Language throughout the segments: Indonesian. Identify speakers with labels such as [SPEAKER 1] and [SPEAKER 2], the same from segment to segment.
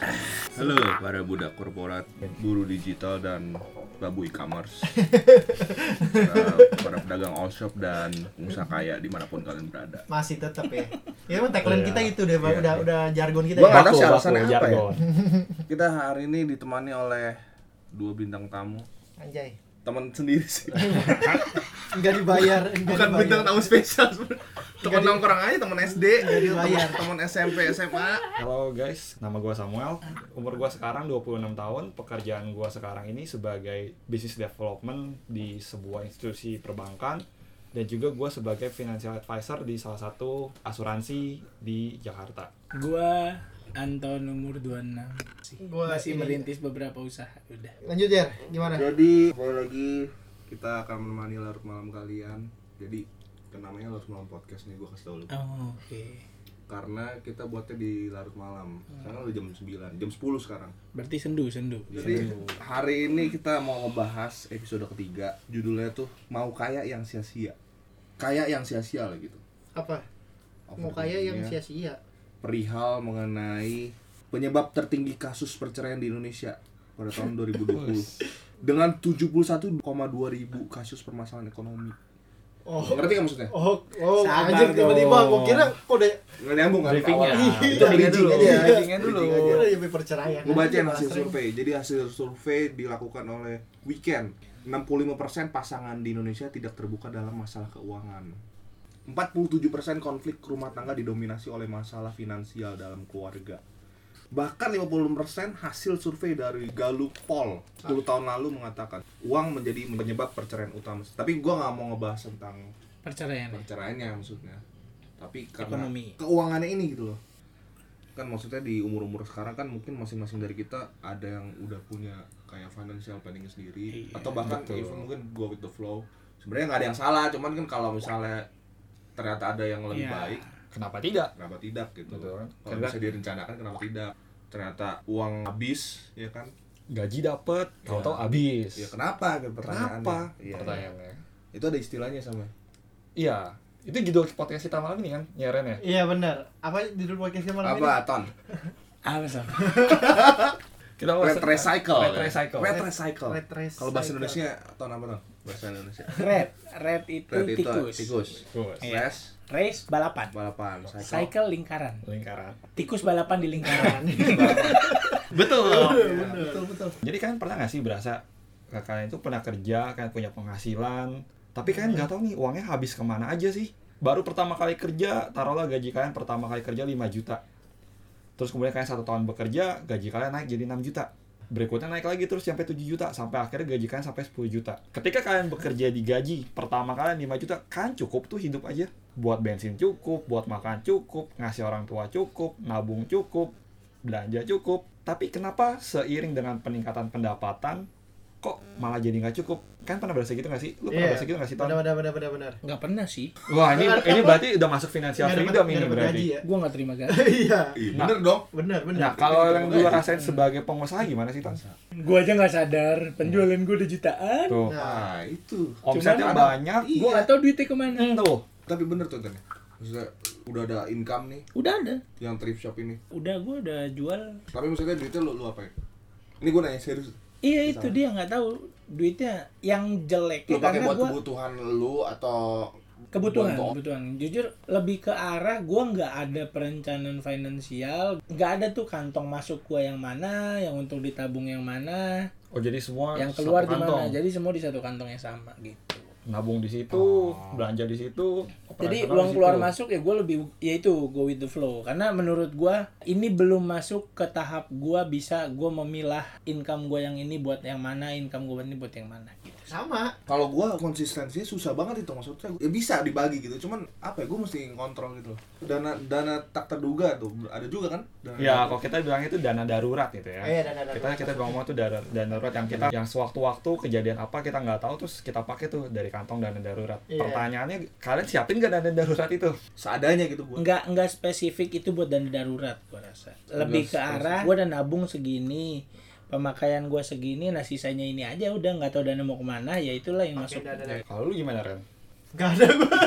[SPEAKER 1] Halo para budak korporat, guru digital dan babu e-commerce Para- Para pedagang all shop dan pengusaha kaya dimanapun kalian berada
[SPEAKER 2] masih tetap ya. Ya emang tagline
[SPEAKER 3] Iya.
[SPEAKER 2] kita itu deh,
[SPEAKER 1] Iya,
[SPEAKER 2] Bang. udah
[SPEAKER 1] iya.
[SPEAKER 2] udah jargon kita.
[SPEAKER 1] Gua
[SPEAKER 2] ya.
[SPEAKER 1] nggak tahu sih alasannya apa ya.
[SPEAKER 3] jargon.
[SPEAKER 1] Kita hari ini ditemani oleh dua bintang tamu
[SPEAKER 2] Anjay.
[SPEAKER 1] Teman sendiri sih
[SPEAKER 2] Enggak dibayar, enggak
[SPEAKER 1] Bukan bintang tamu spesial Teman
[SPEAKER 2] iya. Jadi-
[SPEAKER 1] nongkrong aja, teman SD,
[SPEAKER 2] dibayar.
[SPEAKER 1] teman- teman SMP, SMA
[SPEAKER 3] Halo guys, nama gua Samuel. Umur gua sekarang 26 tahun. Pekerjaan gua sekarang ini sebagai business development di sebuah institusi perbankan dan juga gua sebagai financial advisor di salah satu asuransi di Jakarta.
[SPEAKER 4] Gua Anton umur 26
[SPEAKER 2] Gua
[SPEAKER 4] Masih
[SPEAKER 2] ini-
[SPEAKER 4] merintis beberapa usaha Udah
[SPEAKER 2] Lanjut ya, gimana?
[SPEAKER 1] Jadi kembali lagi kita akan menemani larut malam kalian. Jadi namanya larut malam podcast nih gue kasih tau lu.
[SPEAKER 4] oh, oke
[SPEAKER 1] Karena kita buatnya di larut malam.
[SPEAKER 2] Hmm.
[SPEAKER 1] Sekarang udah jam 9, jam 10 sekarang.
[SPEAKER 4] Berarti sendu, sendu
[SPEAKER 1] Jadi hari ini kita mau ngebahas episode ketiga. Judulnya tuh mau kaya yang sia-sia. Kaya yang sia-sia lah gitu.
[SPEAKER 2] Apa? Iya. Mau kaya yang
[SPEAKER 1] Overthinkingnya
[SPEAKER 2] sia-sia.
[SPEAKER 1] Perihal mengenai penyebab tertinggi kasus perceraian di Indonesia pada tahun 2020 dengan 71,2 ribu kasus permasalahan ekonomi.
[SPEAKER 2] Oh.
[SPEAKER 1] Ngerti nggak maksudnya?
[SPEAKER 2] Oh, oh,
[SPEAKER 4] Sabar
[SPEAKER 2] anjir tiba-tiba
[SPEAKER 4] dong.
[SPEAKER 2] gua kira kode
[SPEAKER 1] Nggak nyambung kan?
[SPEAKER 3] Briefingnya.
[SPEAKER 2] Ah,
[SPEAKER 1] ke awal.
[SPEAKER 3] Iya,
[SPEAKER 1] Itu briefing aja.
[SPEAKER 3] briefing aja.
[SPEAKER 1] Briefingnya dulu.
[SPEAKER 2] Briefing aja. Udah lebih perceraian.
[SPEAKER 1] Gue
[SPEAKER 2] Anjir,
[SPEAKER 1] bacain hasil
[SPEAKER 2] malah ya kan? Iya, sering.
[SPEAKER 1] survei. Jadi hasil survei dilakukan oleh Weekend. 65% pasangan di Indonesia tidak terbuka dalam masalah keuangan. 47% konflik rumah tangga didominasi oleh masalah finansial dalam keluarga. Bahkan 50% hasil survei dari Gallup Poll 10 tahun lalu mengatakan uang menjadi penyebab perceraian utama. Tapi gua nggak mau ngebahas tentang
[SPEAKER 4] Perceraian ya?
[SPEAKER 1] perceraiannya maksudnya tapi karena
[SPEAKER 4] Ekonomi.
[SPEAKER 1] keuangannya ini gitu loh kan maksudnya di umur umur sekarang kan mungkin masing-masing dari kita ada yang udah punya kayak financial planning sendiri
[SPEAKER 4] Iya,
[SPEAKER 1] atau bahkan even mungkin go with the flow sebenarnya nggak ada yang salah cuman kan kalau misalnya ternyata ada yang lebih
[SPEAKER 4] Iya.
[SPEAKER 1] baik
[SPEAKER 3] Kenapa tidak?
[SPEAKER 1] kenapa tidak gitu
[SPEAKER 3] Betul kan?
[SPEAKER 1] kalau
[SPEAKER 3] Karena-
[SPEAKER 1] bisa direncanakan kenapa tidak ternyata uang habis ya kan
[SPEAKER 3] Gaji dapet, tahu-tahu
[SPEAKER 1] Iya.
[SPEAKER 3] habis.
[SPEAKER 1] ya kenapa gitu pertanyaannya
[SPEAKER 3] Kenapa?
[SPEAKER 1] Iya.
[SPEAKER 3] Pertanyaannya.
[SPEAKER 1] itu ada istilahnya sama
[SPEAKER 3] Iya. Itu judul podcast kita malam ini kan, ya Ren ya?
[SPEAKER 2] Iya benar. Apa judul podcastnya malam ini?
[SPEAKER 1] apa ton
[SPEAKER 4] Apa sih?
[SPEAKER 3] Kita mau-
[SPEAKER 1] Red recycle.
[SPEAKER 3] Red recycle.
[SPEAKER 1] Red recycle.
[SPEAKER 2] Red recycle.
[SPEAKER 1] Kalau bahasa Indonesia tahun apa tuh? Bahasa Indonesia.
[SPEAKER 4] Red Red itu
[SPEAKER 1] Red itu
[SPEAKER 4] tikus.
[SPEAKER 1] tikus.
[SPEAKER 3] Bagus.
[SPEAKER 4] Iya.
[SPEAKER 1] Slash
[SPEAKER 4] Race balapan
[SPEAKER 1] balapan cycle.
[SPEAKER 4] Cycle lingkaran
[SPEAKER 3] Lingkaran.
[SPEAKER 4] Tikus balapan di
[SPEAKER 2] Kan.
[SPEAKER 4] lingkaran
[SPEAKER 3] Betul.
[SPEAKER 2] Betul betul.
[SPEAKER 3] Jadi kalian pernah nggak sih berasa eh, kalian itu pernah kerja, kalian punya penghasilan, tapi kalian nggak tahu nih uangnya habis kemana aja sih? Baru pertama kali kerja, taruhlah gaji kalian pertama kali kerja 5 juta. Terus kemudian kalian satu tahun bekerja, gaji kalian naik jadi 6 juta. Berikutnya naik lagi terus sampai 7 juta, sampai akhirnya gaji kalian sampai 10 juta. Ketika kalian bekerja di gaji pertama kalian 5 juta, kan cukup tuh hidup aja. Buat bensin cukup, buat makan cukup, ngasih orang tua cukup, nabung cukup, belanja cukup. Tapi kenapa seiring dengan peningkatan pendapatan, kok malah jadi nggak cukup? Kan pernah berasa gitu nggak sih? Lu pernah
[SPEAKER 2] Iya.
[SPEAKER 3] berasa gitu nggak sih, Ton?
[SPEAKER 2] Benar benar benar benar benar.
[SPEAKER 4] Nggak pernah sih
[SPEAKER 3] Wah, ini ini berarti udah masuk financial
[SPEAKER 2] Nggak dapat-
[SPEAKER 3] freedom
[SPEAKER 2] nggak
[SPEAKER 3] ini
[SPEAKER 2] dapat
[SPEAKER 3] berarti.
[SPEAKER 2] gaji ya?
[SPEAKER 4] Gua nggak terima gaji
[SPEAKER 2] Iya.
[SPEAKER 1] Ih,
[SPEAKER 3] Nah.
[SPEAKER 1] bener dong.
[SPEAKER 2] Benar benar.
[SPEAKER 3] Nah, kalau yang dulu
[SPEAKER 1] Gaji.
[SPEAKER 3] rasain sebagai pengusaha gimana sih, Ton?
[SPEAKER 4] Gua aja nggak sadar Penjualan gua udah jutaan
[SPEAKER 3] Tuh.
[SPEAKER 2] Nah,
[SPEAKER 1] Nah, itu.
[SPEAKER 3] Omsetnya
[SPEAKER 1] Cuman ada-
[SPEAKER 3] banyak. hmm,
[SPEAKER 1] Iya.
[SPEAKER 4] Gua nggak tahu duitnya kemana
[SPEAKER 3] Tuh.
[SPEAKER 1] Tapi bener tuh Tan. Maksudnya udah ada income nih
[SPEAKER 4] Udah ada
[SPEAKER 1] yang thrift shop ini.
[SPEAKER 4] Udah gua udah jual
[SPEAKER 1] Tapi maksudnya duitnya lu, lu apain? Ini gue nanya serius.
[SPEAKER 4] Iya itu dia nggak tahu duitnya yang jelek
[SPEAKER 1] Lu pakai
[SPEAKER 4] Iya, karena
[SPEAKER 1] buat
[SPEAKER 4] gua
[SPEAKER 1] kebutuhan lu atau
[SPEAKER 4] kebutuhan
[SPEAKER 1] buat-
[SPEAKER 4] kebutuhan jujur lebih ke arah gua nggak ada perencanaan finansial nggak ada tuh kantong masuk gua yang mana yang untuk ditabung yang mana
[SPEAKER 3] Oh, jadi semua
[SPEAKER 4] yang keluar
[SPEAKER 3] satu
[SPEAKER 4] di
[SPEAKER 3] kantong.
[SPEAKER 4] mana jadi semua di satu kantong yang sama gitu
[SPEAKER 3] Nabung di situ, belanja di situ.
[SPEAKER 4] jadi
[SPEAKER 3] operasional di
[SPEAKER 4] uang
[SPEAKER 3] situ.
[SPEAKER 4] keluar masuk ya gua lebih ya itu go with the flow karena menurut gua ini belum masuk ke tahap gua bisa gua memilah income gua yang ini buat yang mana income gua ini buat yang mana gitu
[SPEAKER 2] sama.
[SPEAKER 1] kalau gua konsistensinya susah banget itu maksudnya ya bisa dibagi gitu cuman apa ya gua mesti ngontrol gitu loh dana dana tak terduga tuh ada juga kan dana
[SPEAKER 3] Ya, kalau kita bilang itu dana darurat gitu ya.
[SPEAKER 2] Iya, dana darurat.
[SPEAKER 3] Kita kita ngomong itu dana, dana darurat yang kita yang sewaktu-waktu kejadian apa kita nggak tahu terus kita pakai tuh dari kantong dana darurat.
[SPEAKER 2] Iya.
[SPEAKER 3] Pertanyaannya kalian siapin nggak dana darurat itu?
[SPEAKER 1] seadanya gitu gua
[SPEAKER 4] nggak nggak spesifik itu buat dana darurat gua rasa lebih ke arah gua udah nabung segini pemakaian gua segini nah sisanya ini aja udah nggak tahu dana mau kemana ya itulah yang
[SPEAKER 2] Oke,
[SPEAKER 4] masuk
[SPEAKER 2] dah, dah, dah.
[SPEAKER 3] Kalau lu gimana Ren?
[SPEAKER 2] Gak ada gua.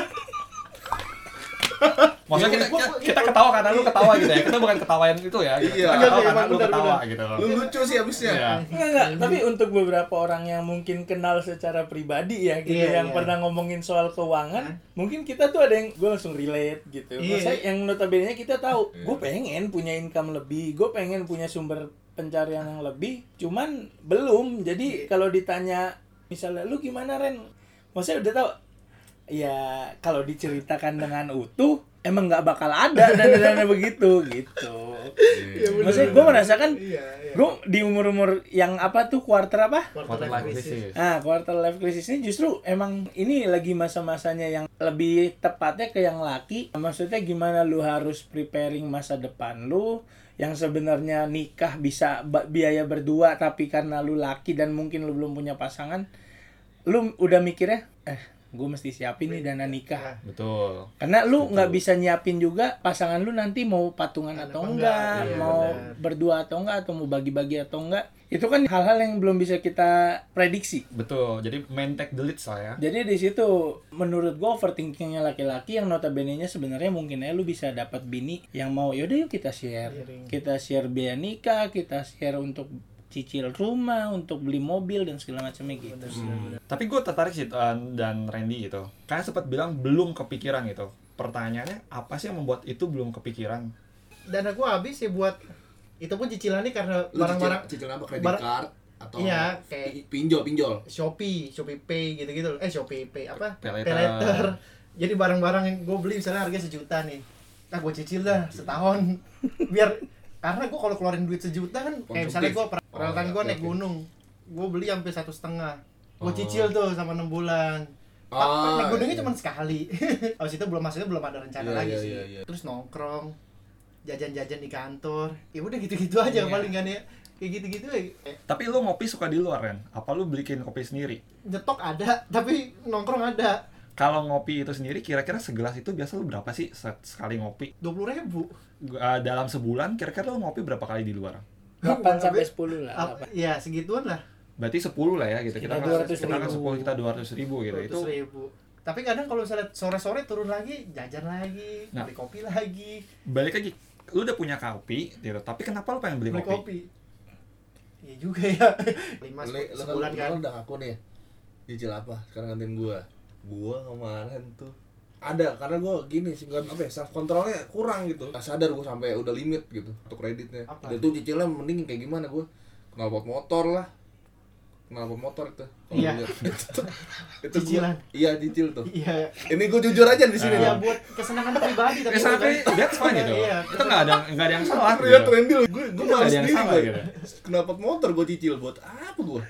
[SPEAKER 3] Maksudnya
[SPEAKER 1] Iya,
[SPEAKER 3] kita,
[SPEAKER 2] gua-
[SPEAKER 3] kita, kita ketawa karena lu ketawa gitu ya. Kita bukan ketawain itu ya. Kita
[SPEAKER 1] Iya.
[SPEAKER 3] ketawa
[SPEAKER 2] Iya,
[SPEAKER 3] karena
[SPEAKER 2] emang
[SPEAKER 3] lu
[SPEAKER 2] benar,
[SPEAKER 3] ketawa
[SPEAKER 2] benar.
[SPEAKER 3] gitu.
[SPEAKER 1] Lu lucu sih abisnya.
[SPEAKER 3] Iya.
[SPEAKER 4] Enggak, enggak. Tapi untuk beberapa orang yang mungkin kenal secara pribadi ya, gitu,
[SPEAKER 2] Iya,
[SPEAKER 4] yang
[SPEAKER 2] iya.
[SPEAKER 4] pernah ngomongin soal keuangan, mungkin kita tuh ada yang gue langsung relate gitu.
[SPEAKER 2] Iya.
[SPEAKER 4] Maksudnya yang notabene kita tahu, gue pengen punya income lebih, gue pengen punya sumber pencarian yang lebih, cuman belum.
[SPEAKER 2] Iya.
[SPEAKER 4] Jadi kalau ditanya, misalnya lu gimana Ren? Maksudnya udah tahu, ya kalau diceritakan dengan utuh, emang nggak bakal ada dana-dana begitu gitu.
[SPEAKER 2] Iya, benar.
[SPEAKER 4] Maksudnya gue merasakan
[SPEAKER 2] Iya, iya.
[SPEAKER 4] Gue di umur-umur yang apa tuh quarter apa?
[SPEAKER 3] Quarter life
[SPEAKER 1] iya.
[SPEAKER 3] crisis.
[SPEAKER 4] Nah, quarter life crisis ini justru emang ini lagi masa-masanya yang lebih tepatnya ke yang laki. Maksudnya gimana lu harus preparing masa depan lu yang sebenarnya nikah bisa ba- biaya berdua tapi karena lu laki dan mungkin lu belum punya pasangan, lu udah mikirnya eh gue mesti siapin nih dana nikah.
[SPEAKER 3] Betul.
[SPEAKER 4] Karena lu nggak bisa nyiapin juga pasangan lu nanti mau patungan
[SPEAKER 2] Apa
[SPEAKER 4] atau
[SPEAKER 2] enggak,
[SPEAKER 4] enggak,
[SPEAKER 2] iya,
[SPEAKER 4] mau
[SPEAKER 2] benar.
[SPEAKER 4] berdua atau enggak, atau mau bagi-bagi atau enggak. Itu kan hal-hal yang belum bisa kita prediksi.
[SPEAKER 3] Betul. Jadi main take the leads lah ya.
[SPEAKER 4] Jadi di situ menurut gua overthinkingnya laki-laki yang notabene-nya sebenarnya mungkin aja lu bisa dapat bini yang mau yaudah yuk kita share.
[SPEAKER 2] Sharing.
[SPEAKER 4] Kita share biaya nikah, kita share untuk cicil rumah, untuk beli mobil dan segala macamnya gitu.
[SPEAKER 3] Tapi gue tertarik sih uh, dan Randy gitu. Kalian sempat bilang belum kepikiran gitu. Pertanyaannya apa sih yang membuat itu belum kepikiran?
[SPEAKER 2] Dana gue habis ya buat itu pun cicilannya karena
[SPEAKER 1] Lu cicil,
[SPEAKER 2] barang-barang
[SPEAKER 1] cicil apa kredit
[SPEAKER 2] barang-
[SPEAKER 1] card atau
[SPEAKER 2] Iya, kayak-
[SPEAKER 1] i- pinjol pinjol.
[SPEAKER 2] Shopee, Shopee Pay gitu-gitu. Eh Shopee Pay apa?
[SPEAKER 3] Pay later.
[SPEAKER 2] Paylater. Jadi barang-barang yang gue beli misalnya harga sejuta nih. Nah gue cicil dah
[SPEAKER 1] Iya.
[SPEAKER 2] setahun biar karena gue kalau keluarin duit sejuta kan kayak misalnya gue per-
[SPEAKER 1] Konsumtif.
[SPEAKER 2] peralatan
[SPEAKER 1] Oh,
[SPEAKER 2] gue
[SPEAKER 1] oke,
[SPEAKER 2] naik
[SPEAKER 1] oke.
[SPEAKER 2] gunung gue beli hampir satu setengah gue
[SPEAKER 3] Oh.
[SPEAKER 2] cicil tuh sama enam bulan Pa-
[SPEAKER 1] Ah,
[SPEAKER 2] naik
[SPEAKER 1] iya.
[SPEAKER 2] gunungnya cuma sekali abis itu belum maksudnya belum ada rencana
[SPEAKER 1] Iya,
[SPEAKER 2] lagi
[SPEAKER 1] iya,
[SPEAKER 2] sih
[SPEAKER 1] iya, iya.
[SPEAKER 2] terus nongkrong jajan-jajan di kantor ya udah gitu-gitu aja
[SPEAKER 1] Iya.
[SPEAKER 2] paling kan ya kayak gitu-gitu ya.
[SPEAKER 3] Tapi lu ngopi suka di luar Ren? Apa lu belikin kopi sendiri?
[SPEAKER 2] nyetok ada tapi nongkrong ada
[SPEAKER 3] Kalau ngopi itu sendiri kira-kira segelas itu biasa lu berapa sih se- sekali ngopi?
[SPEAKER 2] dua puluh ribu
[SPEAKER 3] Gua- uh, dalam sebulan kira-kira lu ngopi berapa kali di luar?
[SPEAKER 4] 8 sampai 10 lah.
[SPEAKER 2] Ap- ya segituan lah
[SPEAKER 3] Berarti 10 lah ya gitu. Kita
[SPEAKER 4] Sekitar
[SPEAKER 3] kan
[SPEAKER 4] 200
[SPEAKER 3] kita kan
[SPEAKER 4] ribu.
[SPEAKER 3] 10 kita 200 ribu gitu. Itu
[SPEAKER 2] 200 ribu tapi kadang kalau misalnya sore-sore turun lagi jajan lagi
[SPEAKER 3] Nah.
[SPEAKER 2] beli kopi lagi
[SPEAKER 3] balik lagi lu udah punya kopi gitu, tapi kenapa lu pengen beli,
[SPEAKER 2] beli
[SPEAKER 3] kopi?
[SPEAKER 2] kopi Iya juga ya lima
[SPEAKER 1] Lu-
[SPEAKER 2] se-
[SPEAKER 1] lu
[SPEAKER 2] sebulan kan
[SPEAKER 1] lu udah ngaku nih. Cicil apa? Sekarang gantiin gua. Gua kemarin tuh ada karena gua gini sih nggak- apa ya self controlnya kurang gitu nggak sadar gua sampai udah limit gitu untuk kreditnya
[SPEAKER 2] Apa?
[SPEAKER 1] dan tuh cicilnya mending kayak gimana gua kenal pot motor lah kenal pot motor itu kalau
[SPEAKER 2] Iya.
[SPEAKER 1] lu lihat. itu, tuh- itu gua-
[SPEAKER 2] Cicilan.
[SPEAKER 1] iya cicil tuh
[SPEAKER 2] iya
[SPEAKER 1] ini gua jujur aja di sini
[SPEAKER 2] ya
[SPEAKER 1] nih.
[SPEAKER 2] buat kesenangan pribadi tapi
[SPEAKER 3] Ya sampai
[SPEAKER 2] bukan-
[SPEAKER 3] that's fine gitu.
[SPEAKER 2] Iya.
[SPEAKER 3] Itu nggak ada nggak ada yang salah.
[SPEAKER 1] Aku lihat
[SPEAKER 3] gitu.
[SPEAKER 1] ya, trendy loh, gue gue malu
[SPEAKER 3] ada yang
[SPEAKER 1] sendiri
[SPEAKER 3] salah
[SPEAKER 1] gue.
[SPEAKER 3] gitu.
[SPEAKER 1] Kenapa motor gue cicil buat apa gue?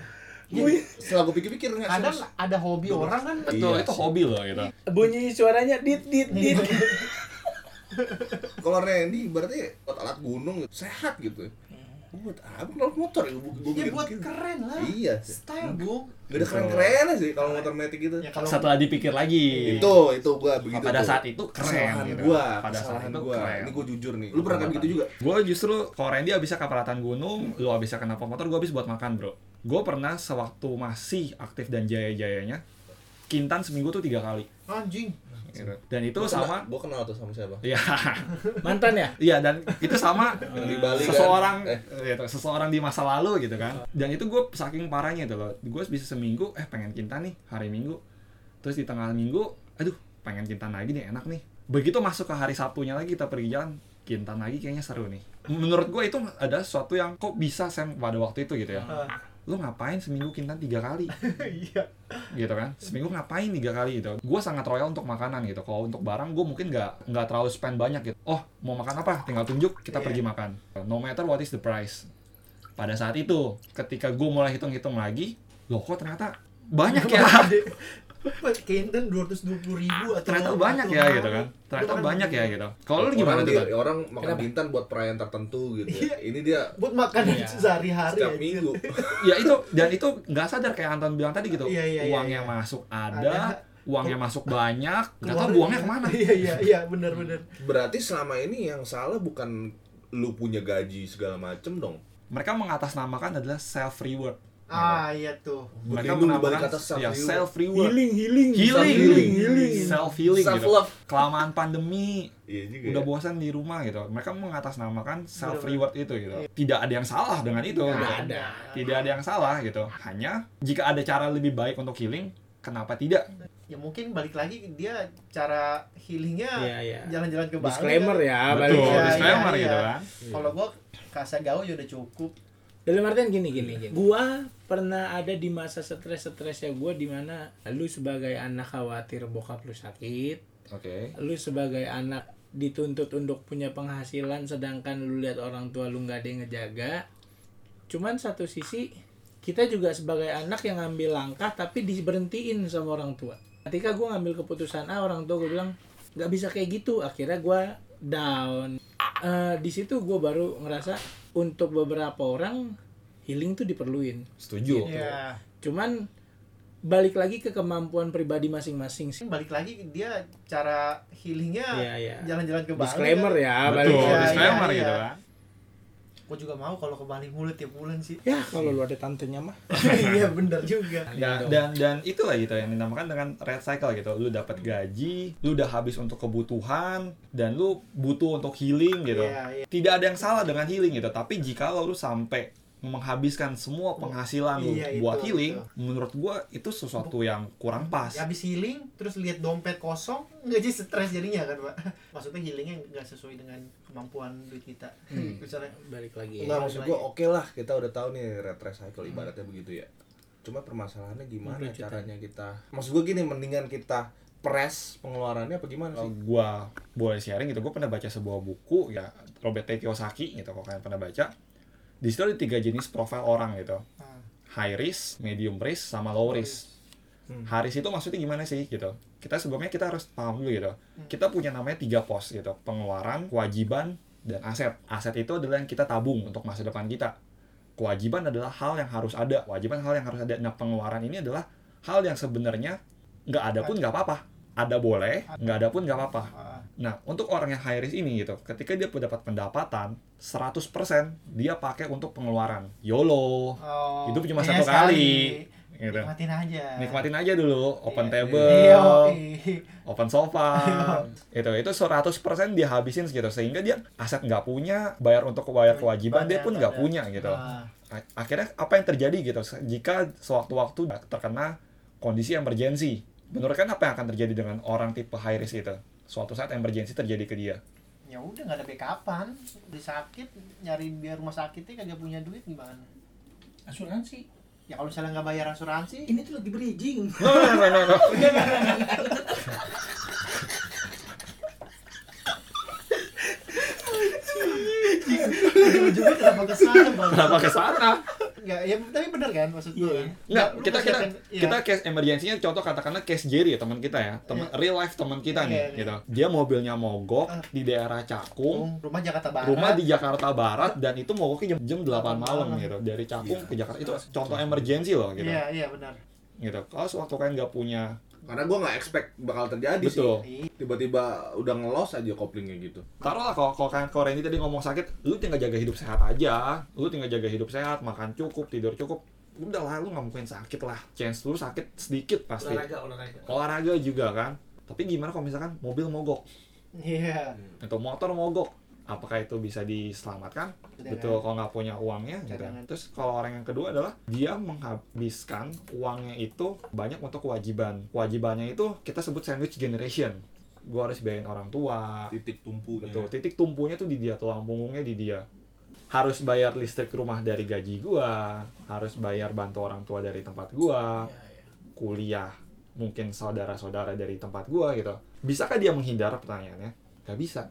[SPEAKER 1] Gue setelah gue pikir-pikir nggak
[SPEAKER 2] kadang
[SPEAKER 1] serius.
[SPEAKER 2] ada hobi orang kan
[SPEAKER 3] Betul,
[SPEAKER 1] Iya
[SPEAKER 3] itu
[SPEAKER 1] sih.
[SPEAKER 3] hobi lo gitu.
[SPEAKER 4] Bunyi suaranya dit dit dit.
[SPEAKER 1] Kalau Randy berarti buat alat gunung gitu, sehat gitu. Buat apa kalau motor ya? Gue
[SPEAKER 2] ya buat keren lah
[SPEAKER 1] Iya.
[SPEAKER 2] style bu
[SPEAKER 1] Gak ada keren-keren sih kalau motor metik gitu.
[SPEAKER 2] ya kalau
[SPEAKER 3] Setelah dipikir lagi.
[SPEAKER 1] Itu itu gue begitu.
[SPEAKER 3] pada
[SPEAKER 1] tuh.
[SPEAKER 3] saat itu keren
[SPEAKER 1] kesalahan
[SPEAKER 3] gitu.
[SPEAKER 1] gue,
[SPEAKER 3] pada saat
[SPEAKER 1] kesalahan
[SPEAKER 3] itu
[SPEAKER 1] gue.
[SPEAKER 3] keren.
[SPEAKER 1] Ini gue jujur nih. Lu pernah kayak gitu juga?
[SPEAKER 3] Gue justru kalau Randy abisnya ke peralatan gunung, lu abisnya kenapa motor, gue abis buat makan bro. Gue pernah sewaktu masih aktif dan jaya-jayanya, kintan seminggu tuh tiga kali.
[SPEAKER 2] anjing
[SPEAKER 3] gitu. Dan itu sama,
[SPEAKER 1] Gue kenal tuh sama siapa?
[SPEAKER 3] ya,
[SPEAKER 4] Mantan ya?
[SPEAKER 3] iya dan itu sama
[SPEAKER 1] Di Bali kan?
[SPEAKER 3] seseorang,
[SPEAKER 1] Eh.
[SPEAKER 3] gitu, seseorang di masa lalu gitu kan. Dan itu gue saking parahnya itu loh, gue bisa seminggu, eh pengen kintan nih hari minggu, terus di tengah minggu, aduh pengen kintan lagi nih enak nih. Begitu masuk ke hari Sabtunya lagi kita pergi jalan, kintan lagi kayaknya seru nih. Menurut gue itu ada sesuatu yang kok bisa Sam pada waktu itu gitu ya. Lu ngapain seminggu kintan tiga kali?
[SPEAKER 2] iya
[SPEAKER 3] gitu kan seminggu ngapain tiga kali gitu gue sangat royal untuk makanan gitu kalau untuk barang gue mungkin nggak nggak terlalu spend banyak gitu oh mau makan apa tinggal tunjuk kita
[SPEAKER 2] Iya.
[SPEAKER 3] pergi makan no matter what is the price pada saat itu ketika gue mulai hitung-hitung lagi loh kok ternyata banyak ya
[SPEAKER 2] Kenten dua ratus dua puluh ribu atau
[SPEAKER 3] ternyata banyak ya gitu kan ternyata banyak ya gitu kalau lu gimana
[SPEAKER 1] Orang
[SPEAKER 3] tuh
[SPEAKER 1] di-
[SPEAKER 3] Tan?
[SPEAKER 1] Orang makan bintan buat perayaan tertentu gitu.
[SPEAKER 2] Iya.
[SPEAKER 1] Ini dia
[SPEAKER 2] buat makanan
[SPEAKER 4] Iya.
[SPEAKER 2] sehari-hari
[SPEAKER 1] setiap
[SPEAKER 2] ya.
[SPEAKER 1] minggu.
[SPEAKER 3] ya itu dan itu nggak sadar kayak Anton bilang tadi gitu
[SPEAKER 2] Iya, iya, iya,
[SPEAKER 3] uangnya
[SPEAKER 2] iya.
[SPEAKER 3] masuk
[SPEAKER 2] Ada.
[SPEAKER 3] ada, uangnya masuk banyak nggak tahu
[SPEAKER 2] Keluarin
[SPEAKER 3] buangnya
[SPEAKER 2] ya.
[SPEAKER 3] kemana
[SPEAKER 2] iya iya iya benar benar
[SPEAKER 1] Berarti selama ini yang salah bukan lu punya gaji segala macem dong.
[SPEAKER 3] mereka mengatasnamakan adalah self reward
[SPEAKER 2] Ah iya tuh.
[SPEAKER 1] Mereka
[SPEAKER 3] Berlindung
[SPEAKER 1] menambahkan
[SPEAKER 3] dibalik atas
[SPEAKER 1] ya,
[SPEAKER 3] self-reward.
[SPEAKER 1] self reward.
[SPEAKER 4] healing healing
[SPEAKER 3] healing,
[SPEAKER 1] Self-healing.
[SPEAKER 3] self healing,
[SPEAKER 5] Self
[SPEAKER 3] gitu.
[SPEAKER 5] love.
[SPEAKER 3] Kelamaan pandemi,
[SPEAKER 1] Iya juga.
[SPEAKER 3] udah
[SPEAKER 1] ya.
[SPEAKER 3] bosan di rumah gitu. Mereka mengatasnamakan self reward itu gitu. Tidak ada yang salah dengan itu.
[SPEAKER 5] Nggak
[SPEAKER 3] gitu.
[SPEAKER 5] ada.
[SPEAKER 3] Tidak ada yang salah gitu. Hanya jika ada cara lebih baik untuk healing, kenapa tidak?
[SPEAKER 2] Ya mungkin balik lagi dia cara healingnya
[SPEAKER 4] Iya, iya.
[SPEAKER 2] jalan-jalan ke Bali.
[SPEAKER 4] disclaimer
[SPEAKER 2] kan.
[SPEAKER 4] ya balik
[SPEAKER 3] Betul,
[SPEAKER 4] ya.
[SPEAKER 2] iya,
[SPEAKER 3] disclaimer
[SPEAKER 2] iya.
[SPEAKER 3] gitu kan.
[SPEAKER 2] Kalau gua kasa gaul ya udah cukup.
[SPEAKER 4] Dalam artian gini gini, gini. Gua pernah ada di masa stres-stresnya gua di mana lu sebagai anak khawatir bokap lu sakit,
[SPEAKER 3] Oke.
[SPEAKER 4] lu sebagai anak dituntut untuk punya penghasilan sedangkan lu lihat orang tua lu nggak ada yang ngejaga. Cuman satu sisi kita juga sebagai anak yang ngambil langkah tapi diberhentiin sama orang tua. Ketika gua ngambil keputusan A, orang tua gua bilang nggak bisa kayak gitu. Akhirnya gua down. Eh, di situ gua baru ngerasa untuk beberapa orang healing tuh diperluin.
[SPEAKER 3] Setuju.
[SPEAKER 2] Ya.
[SPEAKER 4] Cuman balik lagi ke kemampuan pribadi masing-masing sih.
[SPEAKER 2] Mungkin balik lagi dia cara healingnya
[SPEAKER 4] Iya, iya.
[SPEAKER 2] jalan-jalan ke Bali.
[SPEAKER 4] Disclaimer
[SPEAKER 2] kan.
[SPEAKER 4] ya, balik
[SPEAKER 3] Betul,
[SPEAKER 2] Iya,
[SPEAKER 4] lagi.
[SPEAKER 3] disclaimer
[SPEAKER 2] iya,
[SPEAKER 3] gitu
[SPEAKER 2] iya.
[SPEAKER 3] kan.
[SPEAKER 2] Gua juga mau kalau ke Bali mulu tiap bulan sih.
[SPEAKER 4] Ya,
[SPEAKER 5] Iya.
[SPEAKER 4] kalau lu ada tantenya mah.
[SPEAKER 2] Iya bener juga.
[SPEAKER 3] Dan, dan dan itulah gitu yang dinamakan dengan red cycle gitu. Lu dapat gaji, lu udah habis untuk kebutuhan dan lu butuh untuk healing gitu.
[SPEAKER 2] Iya, iya.
[SPEAKER 3] Tidak ada yang salah dengan healing gitu, tapi jika lu sampai menghabiskan semua penghasilan lu
[SPEAKER 2] Iya,
[SPEAKER 3] buat
[SPEAKER 2] itu,
[SPEAKER 3] healing,
[SPEAKER 2] itu.
[SPEAKER 3] menurut gua itu sesuatu yang kurang pas.
[SPEAKER 2] Ya, Habis healing terus lihat dompet kosong nggak jadi stres jadinya kan pak? Maksudnya healingnya nggak sesuai dengan kemampuan duit kita.
[SPEAKER 3] Hmm.
[SPEAKER 2] Misalnya
[SPEAKER 4] balik lagi. ya.
[SPEAKER 1] Enggak maksud gua oke lah kita udah tahu nih retrace cycle
[SPEAKER 3] Hmm.
[SPEAKER 1] ibaratnya begitu ya. Cuma permasalahannya gimana
[SPEAKER 4] Mengerucut,
[SPEAKER 1] caranya kita. Maksud gua gini mendingan kita press pengeluarannya apa gimana
[SPEAKER 3] Kalau
[SPEAKER 1] sih?
[SPEAKER 3] gua boleh sharing gitu, gua pernah baca sebuah buku ya Robert T. Kiyosaki gitu kalau kalian pernah baca. Di situ ada tiga jenis profil orang gitu.
[SPEAKER 2] Ah.
[SPEAKER 3] High risk, medium risk, sama low risk.
[SPEAKER 2] Hmm.
[SPEAKER 3] Haris itu maksudnya gimana sih gitu? Kita sebelumnya kita harus paham dulu gitu.
[SPEAKER 2] Hmm.
[SPEAKER 3] Kita punya namanya tiga pos gitu, pengeluaran, kewajiban, dan aset. Aset itu adalah yang kita tabung untuk masa depan kita. Kewajiban adalah hal yang harus ada, kewajiban hal yang harus ada. Nah pengeluaran ini adalah hal yang sebenarnya nggak ada pun nggak apa-apa. Ada boleh, nggak ada pun nggak apa-apa.
[SPEAKER 2] Ah.
[SPEAKER 3] Nah, untuk orang yang high risk ini gitu, ketika dia mendapat pendapatan, 100% dia pakai untuk pengeluaran. YOLO,
[SPEAKER 2] Oh,
[SPEAKER 3] hidup cuma
[SPEAKER 2] iya
[SPEAKER 3] satu kali. Gitu.
[SPEAKER 2] Nikmatin aja.
[SPEAKER 3] Nikmatin aja dulu, open
[SPEAKER 2] Oh, Iya.
[SPEAKER 3] table,
[SPEAKER 2] Iya, oke.
[SPEAKER 3] open sofa itu itu 100% dia habisin gitu sehingga dia aset nggak punya bayar untuk bayar kewajiban dia pun nggak punya gitu
[SPEAKER 2] Ah.
[SPEAKER 3] A- akhirnya apa yang terjadi gitu se- jika sewaktu-waktu terkena kondisi emergensi menurut kan apa yang akan terjadi dengan orang tipe high risk itu suatu saat emergensi terjadi ke dia
[SPEAKER 2] ya udah nggak ada backupan udah sakit nyari biar rumah sakitnya kagak punya duit gimana
[SPEAKER 5] Asuransi.
[SPEAKER 2] ya kalau misalnya nggak bayar asuransi
[SPEAKER 5] Ini tuh lagi bridging.
[SPEAKER 4] Iya,
[SPEAKER 3] no no no no, no.
[SPEAKER 2] ujung-ujungnya kenapa ke sana bang
[SPEAKER 3] kenapa ke sana
[SPEAKER 2] nggak ya tapi bener kan maksud gue kan?
[SPEAKER 3] Nggak,
[SPEAKER 2] Lu
[SPEAKER 3] kita kita
[SPEAKER 2] persiapkan- ya.
[SPEAKER 3] kita case emergensinya contoh katakanlah case Jerry ya teman kita ya teman real life teman kita
[SPEAKER 2] Iya,
[SPEAKER 3] nih
[SPEAKER 2] iya.
[SPEAKER 3] gitu dia mobilnya mogok
[SPEAKER 2] Ah.
[SPEAKER 3] di daerah
[SPEAKER 2] Bung,
[SPEAKER 3] Cakung
[SPEAKER 2] rumah Jakarta Barat
[SPEAKER 3] rumah di Jakarta Barat dan itu mogoknya jam, jam 8 malam
[SPEAKER 2] Malam.
[SPEAKER 3] gitu dari Cakung ke Jakarta itu contoh emergency loh gitu
[SPEAKER 2] iya iya benar
[SPEAKER 3] gitu kalau sewaktu kalian nggak punya
[SPEAKER 1] Karena gua nggak expect bakal terjadi sih.
[SPEAKER 3] betul
[SPEAKER 2] Iya.
[SPEAKER 1] Tiba-tiba udah ngelos aja koplingnya gitu.
[SPEAKER 3] taruhlah kalau kalau kalian kalau Randy tadi ngomong sakit lu tinggal jaga hidup sehat aja lu tinggal jaga hidup sehat makan cukup tidur cukup udah lah lu nggak mungkin sakit lah chance lu sakit sedikit pasti
[SPEAKER 5] Olahraga, olahraga.
[SPEAKER 3] olahraga juga kan tapi gimana kalau misalkan mobil mogok
[SPEAKER 2] iya
[SPEAKER 3] atau motor mogok apakah itu bisa diselamatkan
[SPEAKER 2] Cadangan.
[SPEAKER 3] betul kalau nggak punya uangnya gitu.
[SPEAKER 2] kan? Cadangan.
[SPEAKER 3] terus kalau orang yang kedua adalah dia menghabiskan uangnya itu banyak untuk kewajiban kewajibannya itu kita sebut sandwich generation gua harus biayain orang tua
[SPEAKER 1] Titik tumpunya.
[SPEAKER 3] betul titik tumpunya tuh di dia tulang punggungnya di dia harus bayar listrik rumah dari gaji gua harus bayar bantu orang tua dari tempat gua kuliah mungkin saudara-saudara dari tempat gua gitu bisakah dia menghindar pertanyaannya nggak bisa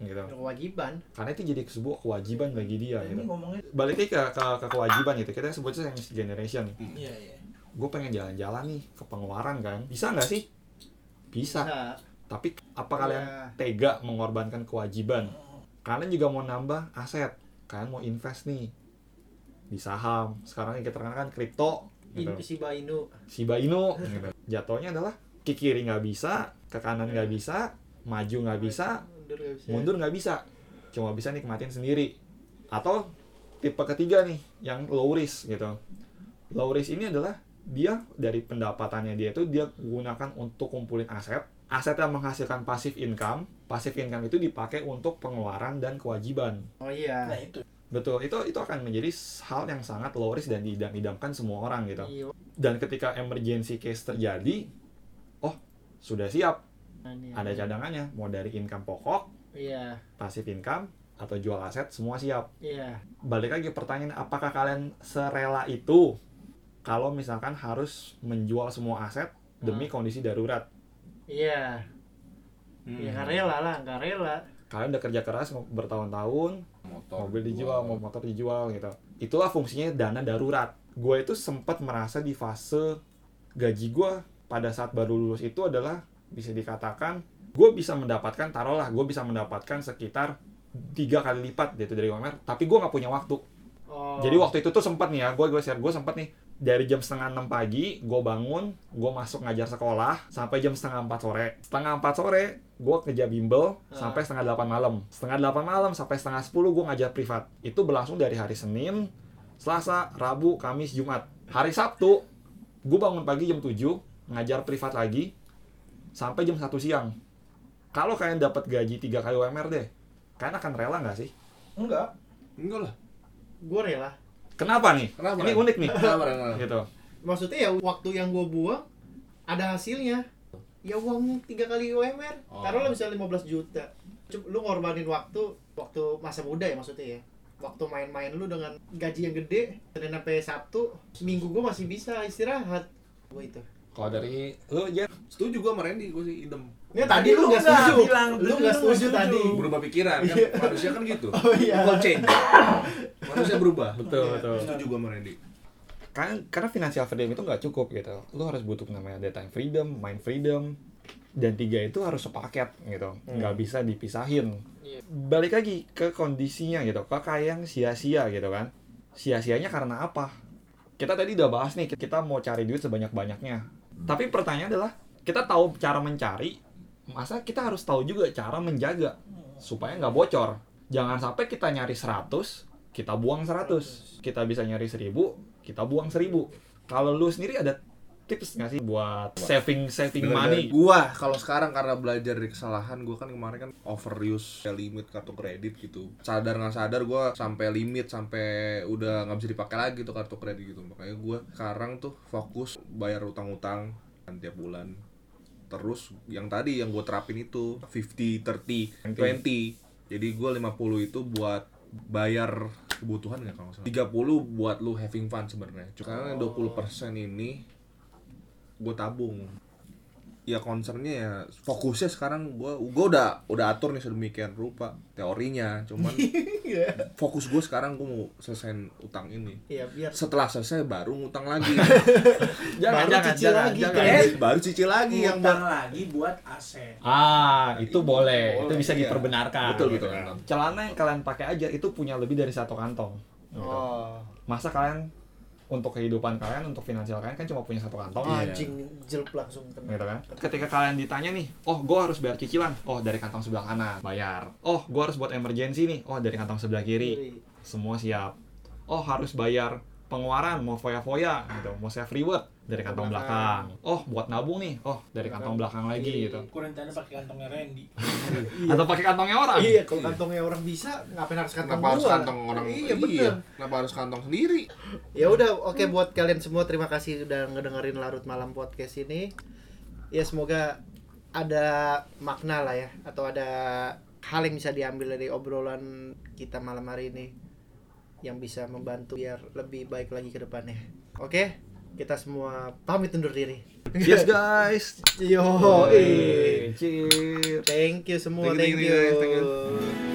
[SPEAKER 3] gitu
[SPEAKER 2] Ada kewajiban
[SPEAKER 3] karena itu jadi sebuah kewajiban bagi dia
[SPEAKER 4] iya.
[SPEAKER 5] Ini
[SPEAKER 3] gitu
[SPEAKER 5] ngomongnya.
[SPEAKER 3] balik lagi ke, ke, ke kewajiban gitu kita sebutnya yang generation
[SPEAKER 5] Iya, iya.
[SPEAKER 3] gue pengen jalan-jalan nih ke pengeluaran kan bisa nggak sih bisa
[SPEAKER 2] nah,
[SPEAKER 3] tapi apa kalian
[SPEAKER 2] Iya.
[SPEAKER 3] tega mengorbankan kewajiban kalian juga mau nambah aset kalian mau invest nih di saham sekarang yang kita kenal kan kripto gitu.
[SPEAKER 2] in, Shiba Inu
[SPEAKER 3] Shiba Inu gitu. jatuhnya adalah ke kiri nggak bisa ke kanan nggak bisa maju nggak bisa
[SPEAKER 2] mundur nggak bisa
[SPEAKER 3] mundur nggak bisa cuma bisa nikmatin sendiri atau tipe ketiga nih yang low risk gitu Low risk ini adalah dia dari pendapatannya dia itu dia gunakan untuk kumpulin aset. Aset yang menghasilkan passive income. Passive income itu dipakai untuk pengeluaran dan kewajiban.
[SPEAKER 2] Oh iya.
[SPEAKER 5] Nah itu.
[SPEAKER 3] Betul, itu itu akan menjadi hal yang sangat low risk dan diidam-idamkan semua orang gitu.
[SPEAKER 2] Iya.
[SPEAKER 3] Dan ketika emergency case terjadi, oh, sudah siap,
[SPEAKER 2] Ini.
[SPEAKER 3] ada cadangannya, mau dari income pokok,
[SPEAKER 2] Iya,
[SPEAKER 3] passive income atau jual aset semua siap.
[SPEAKER 2] iya.
[SPEAKER 3] Balik lagi pertanyaan apakah kalian serela itu kalau misalkan harus menjual semua aset demi kondisi darurat.
[SPEAKER 2] Iya,
[SPEAKER 1] Hmm.
[SPEAKER 2] ya nggak rela lah, nggak rela.
[SPEAKER 3] Kalian udah kerja keras bertahun-tahun,
[SPEAKER 1] Motor
[SPEAKER 3] mobil dijual, mau motor dijual gitu. Itulah fungsinya dana darurat. Gue itu sempat merasa di fase gaji gue pada saat baru lulus itu adalah bisa dikatakan gue bisa mendapatkan taruhlah gue bisa mendapatkan sekitar tiga kali lipat gitu dari UMR tapi gue nggak punya waktu
[SPEAKER 2] Oh.
[SPEAKER 3] Jadi waktu itu tuh sempat nih ya, gue gue share gue sempat nih dari jam setengah enam pagi gue bangun, gue masuk ngajar sekolah sampai jam setengah empat sore. Setengah empat sore gue kerja bimbel sampai setengah delapan malam. Setengah delapan malam sampai setengah sepuluh gue ngajar privat. Itu berlangsung dari hari Senin, Selasa, Rabu, Kamis, Jumat. Hari Sabtu gue bangun pagi jam 7 ngajar privat lagi sampai jam 1 siang. Kalau kalian dapat gaji 3 kali UMR deh, kalian akan rela nggak sih?
[SPEAKER 5] Enggak.
[SPEAKER 1] Enggak lah.
[SPEAKER 2] gue rela.
[SPEAKER 3] Kenapa nih?
[SPEAKER 1] Kenapa?
[SPEAKER 3] Ini unik nih.
[SPEAKER 1] Kenapa? kenapa?
[SPEAKER 3] gitu.
[SPEAKER 2] Maksudnya ya waktu yang gue buang ada hasilnya. Ya uang tiga kali UMR,
[SPEAKER 1] Oh.
[SPEAKER 2] taruhlah misalnya 15 juta. Cuma lu ngorbanin waktu, waktu masa muda ya maksudnya ya. Waktu main-main lu dengan gaji yang gede, Senin sampai Sabtu, minggu gue masih bisa istirahat. Gue itu.
[SPEAKER 3] Kalau dari lu Jen,
[SPEAKER 1] Setuju gue sama Randy, gue sih idem.
[SPEAKER 2] Ya tadi lu nggak
[SPEAKER 5] nggak
[SPEAKER 2] setuju.
[SPEAKER 5] bilang, tadi
[SPEAKER 2] lu nggak
[SPEAKER 5] lu nggak
[SPEAKER 2] setuju
[SPEAKER 5] setuju.
[SPEAKER 2] tadi.
[SPEAKER 1] Berubah pikiran, kan? manusia kan gitu.
[SPEAKER 2] Iya. Oh iya.
[SPEAKER 1] People change. manusia berubah.
[SPEAKER 3] betul betul.
[SPEAKER 1] Setuju gue sama Randy.
[SPEAKER 3] Karena karena financial freedom itu nggak cukup gitu. Lu harus butuh namanya daytime freedom, mind freedom, dan tiga itu harus sepaket gitu. Nggak bisa dipisahin.
[SPEAKER 2] Iya.
[SPEAKER 3] Balik lagi ke kondisinya gitu. Ke kayak yang sia-sia gitu kan. Sia-sianya karena apa? Kita tadi udah bahas nih, kita mau cari duit sebanyak-banyaknya. Tapi pertanyaan adalah, kita tahu cara mencari, masa kita harus tahu juga cara menjaga supaya nggak bocor. Jangan sampai kita nyari 100, kita buang 100. Kita bisa nyari 1000, kita buang 1000. Kalau lu sendiri ada tips nggak sih buat saving saving money?
[SPEAKER 1] Gua kalau sekarang karena belajar dari kesalahan gua kan kemarin kan overuse kayak limit kartu kredit gitu. Sadar nggak sadar gua sampai limit sampai udah nggak bisa dipakai lagi tuh kartu kredit gitu. Makanya gua sekarang tuh fokus bayar utang-utang kan tiap bulan. Terus yang tadi yang gue terapin itu 50 30 20. Jadi gua 50 itu buat bayar kebutuhan nggak kalau nggak salah 30 buat lu having fun sebenarnya karena 20% ini gue tabung ya concernnya ya fokusnya sekarang gue gue udah udah atur nih sedemikian rupa teorinya cuman fokus gue sekarang gue mau selesaiin utang ini
[SPEAKER 2] Iya, biar
[SPEAKER 1] setelah selesai baru ngutang lagi
[SPEAKER 3] Jangan,
[SPEAKER 2] Baru
[SPEAKER 3] jangan,
[SPEAKER 2] cicil
[SPEAKER 3] jangan,
[SPEAKER 2] lagi,
[SPEAKER 3] jangan.
[SPEAKER 2] guys.
[SPEAKER 1] eh baru cicil lagi yang
[SPEAKER 5] Ngutang lagi buat aset.
[SPEAKER 3] Ah, itu boleh. Itu bisa
[SPEAKER 1] Iya.
[SPEAKER 3] diperbenarkan. Gitu kan.
[SPEAKER 1] Betul, betul.
[SPEAKER 3] Celana yang kalian pakai aja itu punya lebih dari satu kantong. Gitu.
[SPEAKER 2] Oh,
[SPEAKER 3] Masa kalian untuk kehidupan kalian, untuk finansial kalian kan cuma punya satu kantong.
[SPEAKER 1] Iya.
[SPEAKER 2] anjing jelp langsung kena.
[SPEAKER 3] Gitu kan. Ketika kalian ditanya nih, "Oh, gua harus bayar cicilan." Oh, dari kantong sebelah kanan, bayar. Oh, gua harus buat emergency nih. Oh, dari kantong sebelah kiri.
[SPEAKER 1] Iya.
[SPEAKER 3] Semua siap. Oh, harus bayar pengeluaran mau foya-foya gitu, mau save reward dari kantong belakang. Oh, buat nabung nih. Oh, dari kantong belakang lagi gitu.
[SPEAKER 5] Kurentanya pakai kantongnya Randy.
[SPEAKER 3] Atau pakai kantongnya orang.
[SPEAKER 2] Iya, kalau kantongnya orang bisa, ngapain harus kantong
[SPEAKER 1] kenapa harus
[SPEAKER 2] gua?
[SPEAKER 1] kantong orang
[SPEAKER 2] Iya, bener.
[SPEAKER 1] kenapa harus kantong sendiri
[SPEAKER 2] Ya
[SPEAKER 1] Hmm.
[SPEAKER 2] udah, oke buat kalian semua terima kasih udah ngedengerin Larut Malam podcast ini. Ya semoga ada makna lah ya atau ada hal yang bisa diambil dari obrolan kita malam hari ini yang bisa membantu biar lebih baik lagi ke depannya. Oke, kita semua pamit undur diri.
[SPEAKER 3] Yes, guys.
[SPEAKER 2] Yo,
[SPEAKER 3] Cheers.
[SPEAKER 2] Oh, thank you semua,
[SPEAKER 1] Thank you, thank you, guys. Thank
[SPEAKER 2] Thank you.